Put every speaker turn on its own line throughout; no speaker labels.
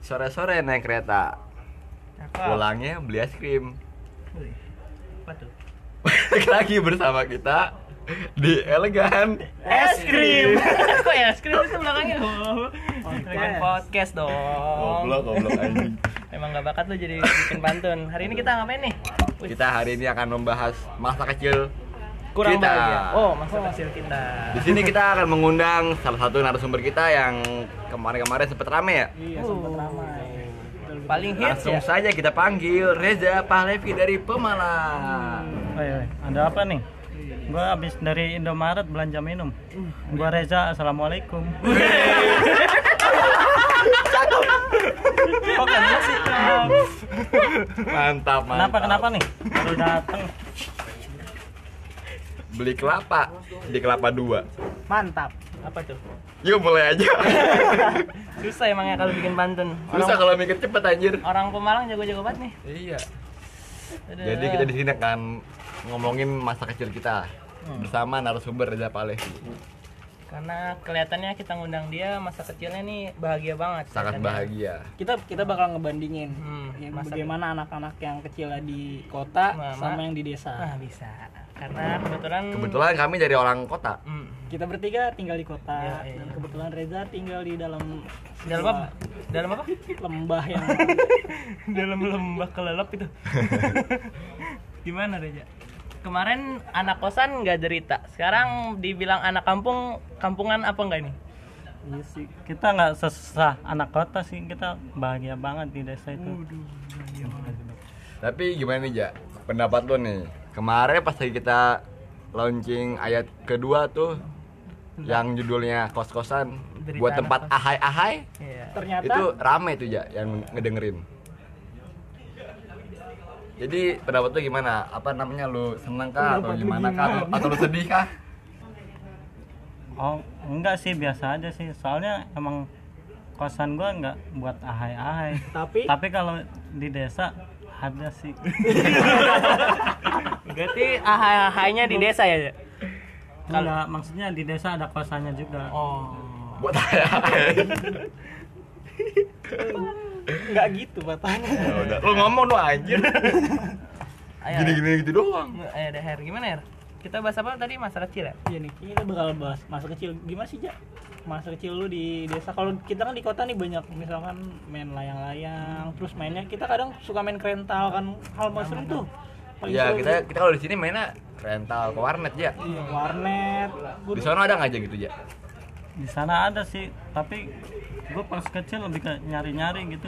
sore-sore naik kereta
Cakep.
pulangnya beli es krim
Wih, apa tuh?
Balik lagi bersama kita di elegan
Es krim. Kok ya es krim itu belakangnya? Oh, Dengan podcast dong.
goblok goblok anjing
Emang gak bakat lu jadi bikin pantun. Hari ini kita ngapain nih? Wih,
kita hari ini akan membahas masa kecil
kurang
kita.
bahagia. Oh, masa kecil kita.
di sini kita akan mengundang salah satu narasumber kita yang kemarin-kemarin sempet rame ya
Iya, sempet ramai. Paling hits
langsung
ya.
saja kita panggil Reza Pahlevi dari Pemalang
Hmm.
Oi, oi, Oh, iya, ada apa nih? Gua habis dari Indomaret belanja minum.
Uh, iya.
Gua Reza, assalamualaikum.
Kok kenapa sih?
mantap mantap
Kenapa kenapa nih? Baru dateng.
beli kelapa di kelapa dua
Mantap. Apa tuh?
yuk mulai aja
Susah emangnya kalau bikin pantun.
susah
Orang,
kalau mikir cepet anjir
orang Pemalang jago-jago banget nih.
iya
Aduh.
Jadi kita di sini akan ngomongin masa kecil kita
Hmm.
bersama narasumber Reza Palevi.
karena kelihatannya kita ngundang dia masa kecilnya nih bahagia banget. Kan?
Sangat
kelihatannya.
bahagia.
kita kita bakal ngebandingin
Hmm,
ya,
masa Nah,
bagaimana anak-anak yang kecil di kota
Mama.
sama yang di desa.
Ah bisa. Karena kebetulan
Kebetulan kami dari orang kota.
Hmm.
Kita bertiga tinggal di kota
Iya, iya.
dan kebetulan Reza tinggal di dalam
dalam
sebuah
apa? Dalam apa?
Lembah yang
dalam lembah kelelep itu. Gimana Reja? Kemarin anak kosan nggak derita. Sekarang dibilang anak kampung, kampungan apa enggak nih?
Iya sih.
Kita nggak sesah anak kota sih, kita bahagia banget di desa itu.
Tapi gimana nih, Ja? Pendapat lo nih. Kemarin pas lagi kita launching ayat kedua tuh yang judulnya kos-kosan
Derita
buat
anak
tempat
kos.
ahai-ahai
Iya.
Ternyata
itu rame tuh Ja yang ngedengerin. Jadi pendapat lo gimana? Apa namanya lu seneng kah atau gimana kah atau, atau lu sedih kah?
Oh, enggak sih, biasa aja sih. Soalnya emang kosan gua nggak buat ahai-ahai.
tapi
Tapi kalau di desa ada sih.
Berarti ahai-ahainya di desa ya? Ja?
Enggak, maksudnya di desa ada kosannya juga.
Oh.
Buat ahai-ahai.
nggak gitu batanya.
Ya udah, lu ngomong lu anjir.
Ayo.
Gini-gini gitu doang.
Ayo deh, Her. Gimana, Her? Kita bahas apa tadi? Masa kecil ya?
Iya nih, kita bakal bahas masa kecil gimana sih, Ja? Masa kecil lu di desa. Kalau kita kan di kota nih banyak misalkan main layang-layang, terus mainnya kita kadang suka main rental kan
Nah,
hal mesum tuh. Paling
Iya,
Ya,
seru
kita kita kalau di sini mainnya rental ke warnet ya.
Iya, warnet
Di sana ada nggak aja gitu ya?
Di sana ada sih, tapi gue pas kecil lebih ke nyari-nyari gitu.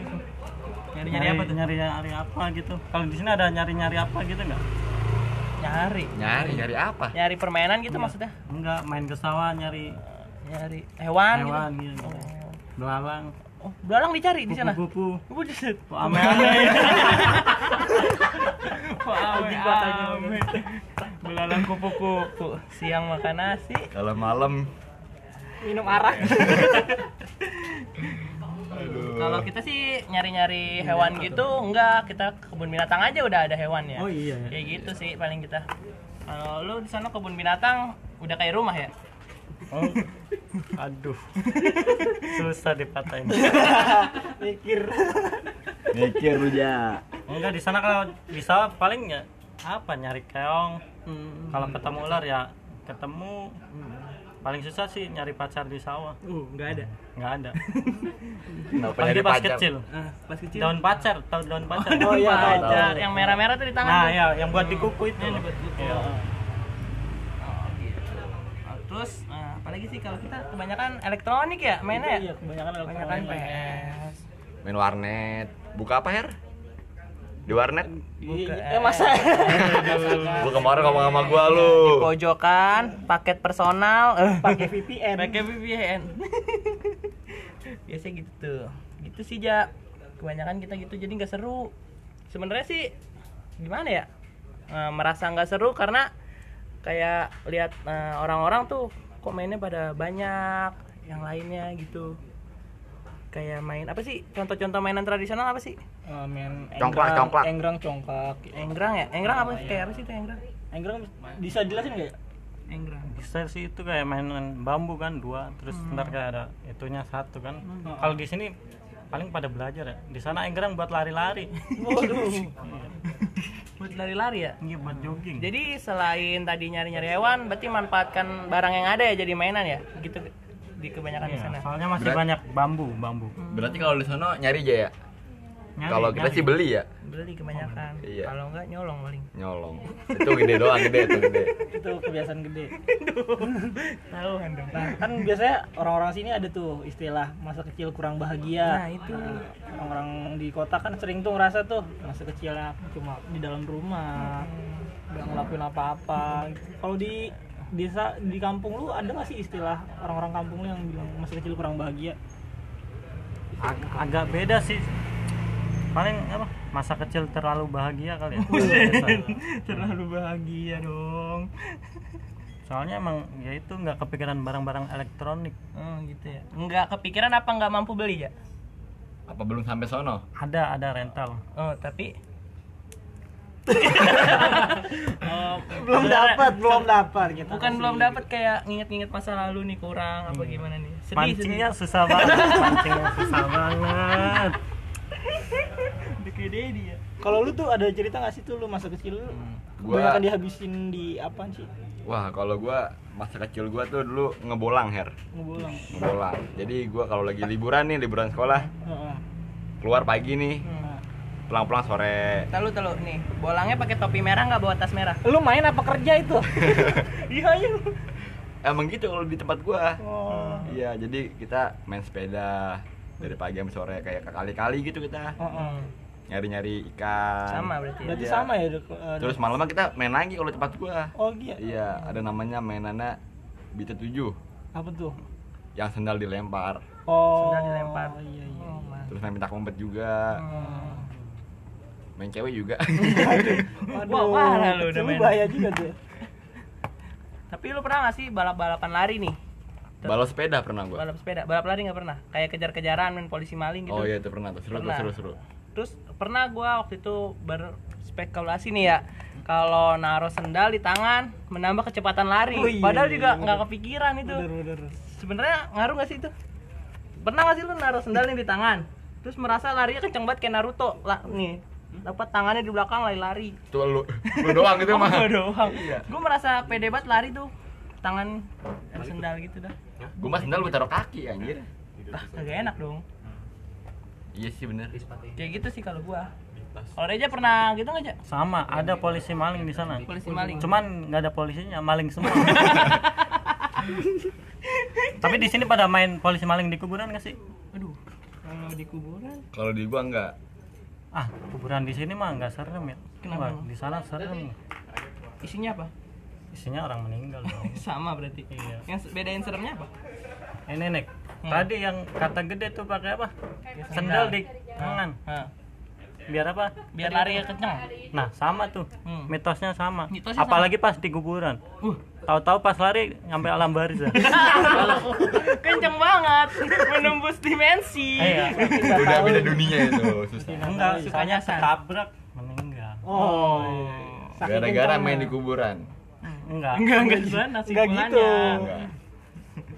Nyari-nyari apa tuh?
nyari nyari apa gitu kalau di sini ada nyari nyari apa gitu nggak
Nyari.
Nyari nyari apa?
Nyari permainan
Iya.
gitu maksudnya?
nggak main ke sawah nyari
Nyari hewan,
hewan
gitu.
gitu
Oh.
belalang
Oh, belalang dicari di sana.
kupu-kupu
Buset.
Kupu ame ame
Belalang kupu-kupu. Siang makan nasi.
Kalau malam
minum arak
Iya.
Kalau kita sih nyari-nyari hewan gitu, enggak, kita ke kebun binatang aja udah ada hewan ya.
Oh, iya, ya.
Kayak gitu sih paling kita. Kalau lu di sana kebun binatang udah kayak rumah ya?
Oh. aduh susah dipatahin
mikir
mikir lu ya.
enggak di sana kalau di sawah paling ya apa nyari keong
Hmm.
kalau ketemu ular ya ketemu Hmm. paling susah sih nyari pacar di sawah
uh nggak ada
nggak ada
Kenapa nyari
apalagi pas
pacar?
kecil
Ah, pas kecil
daun pacar tahu daun pacar
Oh, iya, tahu,
Ada
tahu.
yang merah-merah tuh di tangan.
Nah,
tuh.
ya, yang buat di kuku itu.
Iya, dibuat kuku.
Iya.
Oh, gitu. Oh, Terus eh, apalagi sih kalau kita kebanyakan elektronik ya mainnya ya?
iya kebanyakan
Kebanyakan
elektronik
Iya.
PS.
Main warnet. Buka apa her? Di warnet?
Iya, eh masa
Lu kemarin ngomong sama gua lu.
Pojokan, paket personal, eh,
pakai VPN
pakai VPN. Biasa gitu tuh. Gitu sih, Ja. Kebanyakan kita gitu jadi nggak seru. Sebenarnya sih gimana ya? Eh, merasa nggak seru karena kayak lihat eh, orang-orang tuh kok mainnya pada banyak yang lainnya gitu. Kayak main apa sih? Contoh-contoh mainan tradisional apa sih?
Eh, main
Congklak,
enggrang-
congklak.
enggrang congklak
Enggrang ya? Enggrang apa sih? Kayak apa sih itu enggrang?
enggrang bisa jelasin nggak ya?
Enggrang.
Bisa sih itu
Hmm.
kayak mainan bambu kan dua, terus ntar kayak ada itunya satu kan. Kalau di sini paling pada belajar ya di sana enggerang buat lari-lari
Waduh.
buat lari-lari ya
iya buat jogging
jadi selain tadi nyari-nyari hewan berarti manfaatkan barang yang ada ya jadi mainan ya gitu di kebanyakan di
Iya,
sana
soalnya masih
Berat.
banyak bambu bambu
Berarti kalau di sono nyari aja ya.
Nyari,
Kalau kita
nyari.
sih beli ya,
beli kebanyakan
Iya.
kalau enggak nyolong paling
nyolong. Itu gede doang, gede itu gede.
itu kebiasaan gede.
tahu dong
Nah, kan biasanya orang-orang sini ada tuh istilah masa kecil kurang bahagia.
Nah, itu.
orang-orang di kota kan sering tuh ngerasa tuh masa kecilnya cuma di dalam rumah,
Hmm.
nggak ngelakuin apa-apa. Kalau di desa di kampung lu ada nggak sih istilah orang-orang kampung lu yang bilang masa kecil kurang bahagia?
Ag- agak beda sih paling apa masa kecil terlalu bahagia kali ya
Iya,
terlalu bahagia dong
soalnya emang ya itu nggak kepikiran barang-barang elektronik
oh gitu ya nggak kepikiran apa nggak mampu beli ya
Apa belum sampai sono?
ada ada rental
oh tapi
Belum dapat, belum dapat gitu.
bukan belum dapat kayak nginget-nginget masa lalu nih kurang
Iya.
apa gimana nih sedih
pancingnya susah banget pancingnya susah banget
sedih. Kayak Dedi ya
Kalau lu tuh ada cerita nggak sih tuh lu masa kecil lu?
Hmm.
Gua-
Kebanyakan dihabisin di apaan sih?
Wah, kalau gua masa kecil gua tuh dulu ngebolang, Her.
Ngebolang.
Ngebolang. Jadi gua kalau lagi liburan nih, liburan sekolah,
Heeh.
keluar pagi nih,
Nah.
pulang-pulang sore.
Tahu tahu nih, bolangnya pakai topi merah nggak bawa tas merah?
Lu main apa kerja itu?
Iya iya.
Hmm. Emang gitu kalau di tempat gua.
Oh.
Iya, jadi kita main sepeda dari pagi sampai sore kayak ke kali-kali gitu kita
Heeh.
nyari-nyari ikan.
Sama berarti ya?
Berarti
Iya.
sama ya. Dok? Eh,
Terus malamnya kita main lagi kalau di tempat gua.
Oh iya.
Iya, ada namanya mainannya Bita 7
Apa tuh?
yang sendal dilempar.
Oh.
Sendal dilempar.
Iya iya.
Oh, mas.
Terus main petak umpet juga,
Hmm.
Hmm.
main cewek juga.
Wah,
Waduh,
parah lu udah
kecil lu
main.
bahaya juga tuh.
Tapi lu pernah nggak sih balap-balapan lari nih?
Balap sepeda pernah gua.
Balap sepeda, balap lari nggak pernah? Kayak kejar-kejaran, main polisi maling gitu.
Oh iya itu pernah tuh, seru tuh,
Pernah.
seru seru.
Terus pernah gua waktu itu berspekulasi nih ya, kalau naruh sendal di tangan menambah kecepatan lari.
Oh, iya,
Padahal
iya,
juga
iya,
nggak
bener.
kepikiran itu.
Bener bener.
Sebenarnya ngaruh nggak sih itu? Pernah nggak sih lu naruh sendal nih di tangan? Terus merasa larinya kenceng banget kayak Naruto lah nih. Dapat tangannya di belakang lari-lari.
Itu lu, lu doang itu mah.
Oh, Gua doang.
Iya.
Gue merasa pede banget lari tuh tangan yang sendal gitu dah.
Gua mah sendal gua taruh kaki anjir.
Ah, kagak enak dong.
Iya sih bener.
Kayak gitu sih kalau gua. Kalau Reja pernah gitu nggak, Cak?
sama ada polisi maling di sana
Polisi maling.
cuman nggak ada polisinya maling semua tapi di sini pada main polisi maling di kuburan nggak sih
Aduh, kalau di kuburan
Kalau di gua enggak.
ah kuburan di sini mah nggak serem ya
Kenapa?
Wah, di sana serem
isinya apa?
isinya orang meninggal dong.
Sama berarti.
Iya.
Yang se- bedain seremnya apa?
eh nenek
Hmm.
tadi yang kata gede tuh pakai apa sendal di tangan
Hah.
biar apa
Biar larinya kenceng.
nah sama tuh
Hmm.
mitosnya sama
Mitosnya sama.
apalagi pas di kuburan
Uh,
tahu-tahu pas lari nyampe alam barzah
kenceng banget, menembus dimensi.
iya
Udah beda dunia itu,
Iya,
susah.
enggak sukanya
Kepanyasan.
setabrak meninggal
Hmm.
Oh. saking
Gara-gara
kencangnya.
main di kuburan.
enggak
Enggak, enggak gimana sih
Enggak gitu.
Enggak.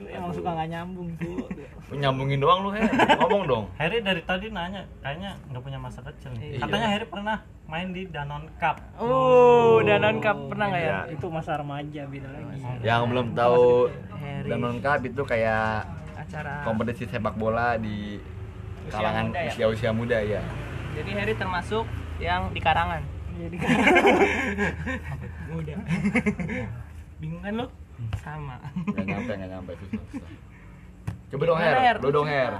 Lu emang suka nggak nyambung tuh.
Lu Nyambungin doang lu, Her. Ngomong dong.
Harry dari tadi nanya kayaknya nggak punya masa kecil nih.
Iya.
katanya Harry pernah main di Danon Cup
Uh, dan non cup pernah nggak ya?
Iya.
itu masa remaja beda lagi.
Yang belum tahu
Harry.
dan lengkap itu kayak
Acara.
kompetisi sepak bola di
Usia
kalangan
muda ya?
usia-usia muda ya.
Jadi Harry termasuk yang di karangan.
Jadi
Udah. Bingung kan lo? Sama.
Gak nyampe, gak nyampe susah, susah. Coba dong
Gimana, Her?
Her, lu dong Her.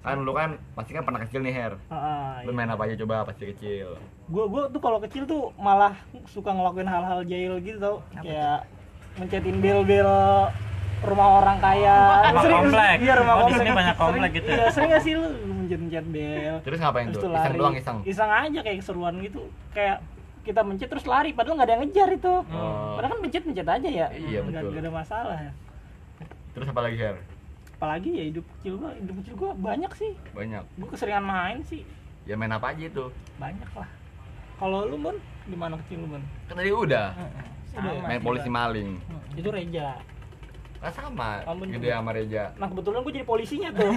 Kan lu kan pasti kan pernah kecil nih Her.
iya.
Ah,
Lu main apa aja coba pasti kecil.
gue gue tuh kalau kecil tuh malah suka ngelakuin hal-hal jahil gitu tau kayak mencetin bel-bel rumah orang kaya
Oh, Rumah komplek.
iya rumah
Oh, di
komplek
sini banyak komplek
Sering-
gitu ya?
iya sering gak sih lu mencet-mencet bel
Terus ngapain
terus
tuh?
tuh
Iseng
lari
doang iseng.
aja kayak keseruan gitu kayak kita mencet terus lari padahal nggak ada yang ngejar itu
Oh.
padahal kan mencet mencet aja ya
Iya,
nggak
betul.
nggak ada masalah ya
Terus apa lagi Her?
apalagi ya hidup kecil gua hidup kecil gua banyak sih
Banyak.
gua keseringan main sih
Ya main apa aja itu?
banyak lah kalau lu bon gimana kecil lu bon
Ah,
Kan tadi udah.
Udah ya?
Hmm.
Main polisi maling.
itu reja
Nah sama,
Ampun.
gede sama Reja.
Nah kebetulan gue jadi polisinya tuh.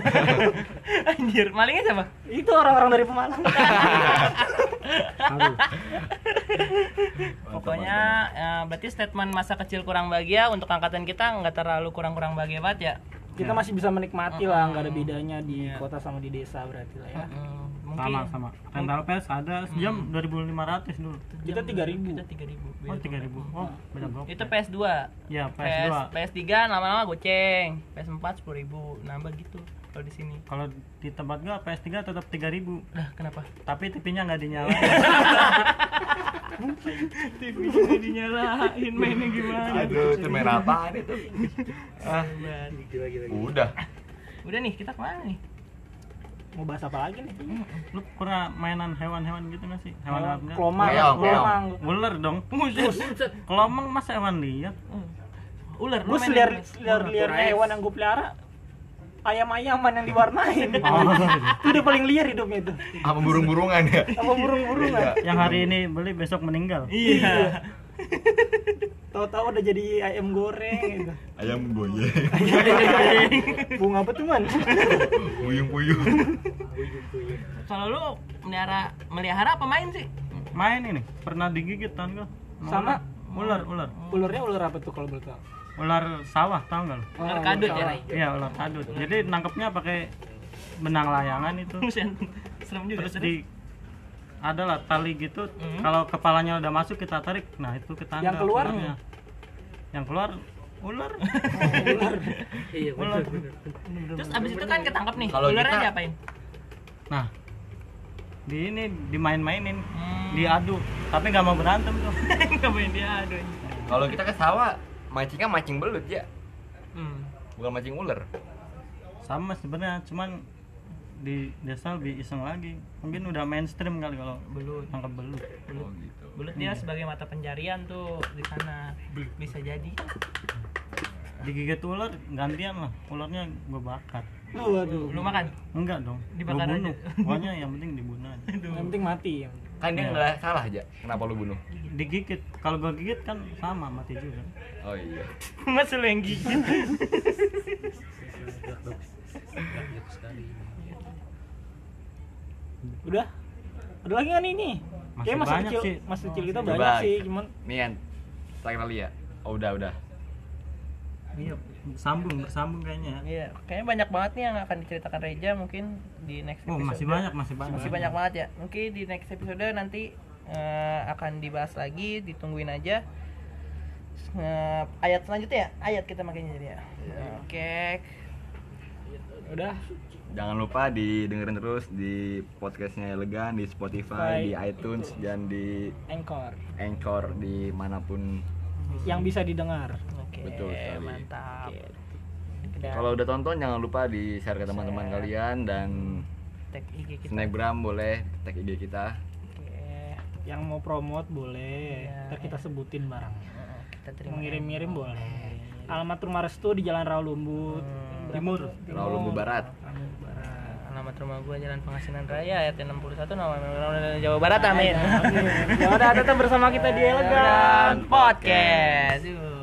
Anjir, malingnya siapa?
itu orang-orang dari Pemalang.
Aduh.
Pokoknya eh, berarti statement masa kecil kurang bahagia untuk angkatan kita nggak terlalu kurang-kurang bahagia banget ya.
Kita masih bisa menikmati lah, nggak ada bedanya di kota sama di desa berarti lah ya.
Hmm,
sama
mungkin
sama rental PS ada sejam 2500 dulu
Kita 3000.
kita 3000.
oh 3000 oh beda blok
Iya. Itu PS2.
ya
PS,
PS2
PS3 lama-lama goceng. PS4 10.000 nambah gitu kalau di sini.
kalau di tempat gua PS3 tetap 3000
Lah, kenapa?
tapi TV-nya nggak dinyalain
TV-nya nggak dinyalain mainnya gimana?
Aduh, itu merah apaan itu?
Ah,
Udah.
udah nih, kita kemana nih?
Mau bahas apa lagi nih?
lu pernah mainan hewan-hewan gitu nggak sih hewan apa enggak?
Kelomang,
Keong,
kelomang.
ular dong
Buset.
kelomang masa hewan liar
Ular, lu main
Gue
Nah,
seliar
apa?
seliar liar hewan yang gue pelihara ayam-ayaman yang diwarnain. itu udah paling liar hidupnya itu.
Sama burung-burungan ya.
Sama burung-burungan.
yang hari ini beli besok meninggal
Iya.
Tahu-tahu udah jadi ayam goreng gitu.
Ayam goyeng,
Bunga apa tuh man?
puyung-puyung.
Kalau lu melihara melihara apa main sih?
main ini pernah digigit tahun gua
Sama?
ular ular
Ulurnya ulur apa tuh kalau boleh tahu?
ular sawah tau nggak lu?
Ular kadut ya, Ray.
iya ular kadut jadi nangkepnya pakai benang layangan itu
Buset. Serem juga.
terus
Terus
di adalah tali gitu kalau kepalanya udah masuk kita tarik nah itu
Hmm.
ketangkap
Yang keluar?
ularnya. yang keluar ular
Iya,
ular
terus abis itu kan ketangkep nih.
Kalau
Ularnya
kita-
diapain?
nah di ini dimain-mainin
Hmm.
diadu tapi nggak mau berantem tuh
Enggak main dia, aduh.
Kalau kita ke sawah, mancingnya mancing belut ya,
Hmm.
Oh,
bukan mancing ular.
sama sebenarnya cuman di desa lebih iseng lagi mungkin udah mainstream kali kalau belut tangkap belut
Oh gitu.
Belut dia sebagai mata pencarian tuh di sana. Bisa jadi.
digigit ular gantian lah ularnya gue bakar
Waduh.
Lu makan?
enggak dong gue
Dibakar aja.
bunuh pokoknya yang penting dibunuh aja
Yang penting mati. ya.
Kan dia nggak salah aja. Kenapa lu bunuh?
digigit kalau gue gigit kan sama mati juga
Oh iya.
Mas lu yang gigit.
Udah? Ada lagi nggak nih ini?
Masih
Kayaknya masa
banyak
kecil,
sih.
masa kecil kita
Coba.
banyak sih, cuman
Nian, terakhir kali ya. Oh udah udah.
iya sambung bersambung kayaknya ya.
Iya, kayaknya banyak banget nih yang akan diceritakan Reja mungkin di next
oh
episode.
masih banyak masih banyak
Masih banyak banget ya. Mungkin di next episode nanti eh, akan dibahas lagi, ditungguin aja. Eh, ayat selanjutnya ya, ayat kita makanya jadi ya.
Iya.
Oke.
udah
Jangan lupa didengerin terus di podcastnya Elegan di Spotify,
Spotify,
di iTunes dan di
anchor
Anchor dimanapun.
yang bisa didengar.
Oke.
Betul sekali.
mantap. Dan
Kalau udah tonton jangan lupa di share ke teman-teman kalian dan
tag IG kita.
snapgram boleh tag IG kita.
Oke.
Yang mau promote boleh,
Iya.
ntar kita sebutin barangnya.
Heeh, Kita terima.
Mau ngirim-ngirim boleh. Alamat rumah restu di Jalan Raulumbut, Timur.
Kalau Lumbu Barat.
Raulumbut Barat.
ya. Alamat rumah gua Jalan Pengasinan Raya ayat 61 nama Jawa Barat amin.
Ya udah, tetap bersama kita di Elegan.
Podcast. Yuh.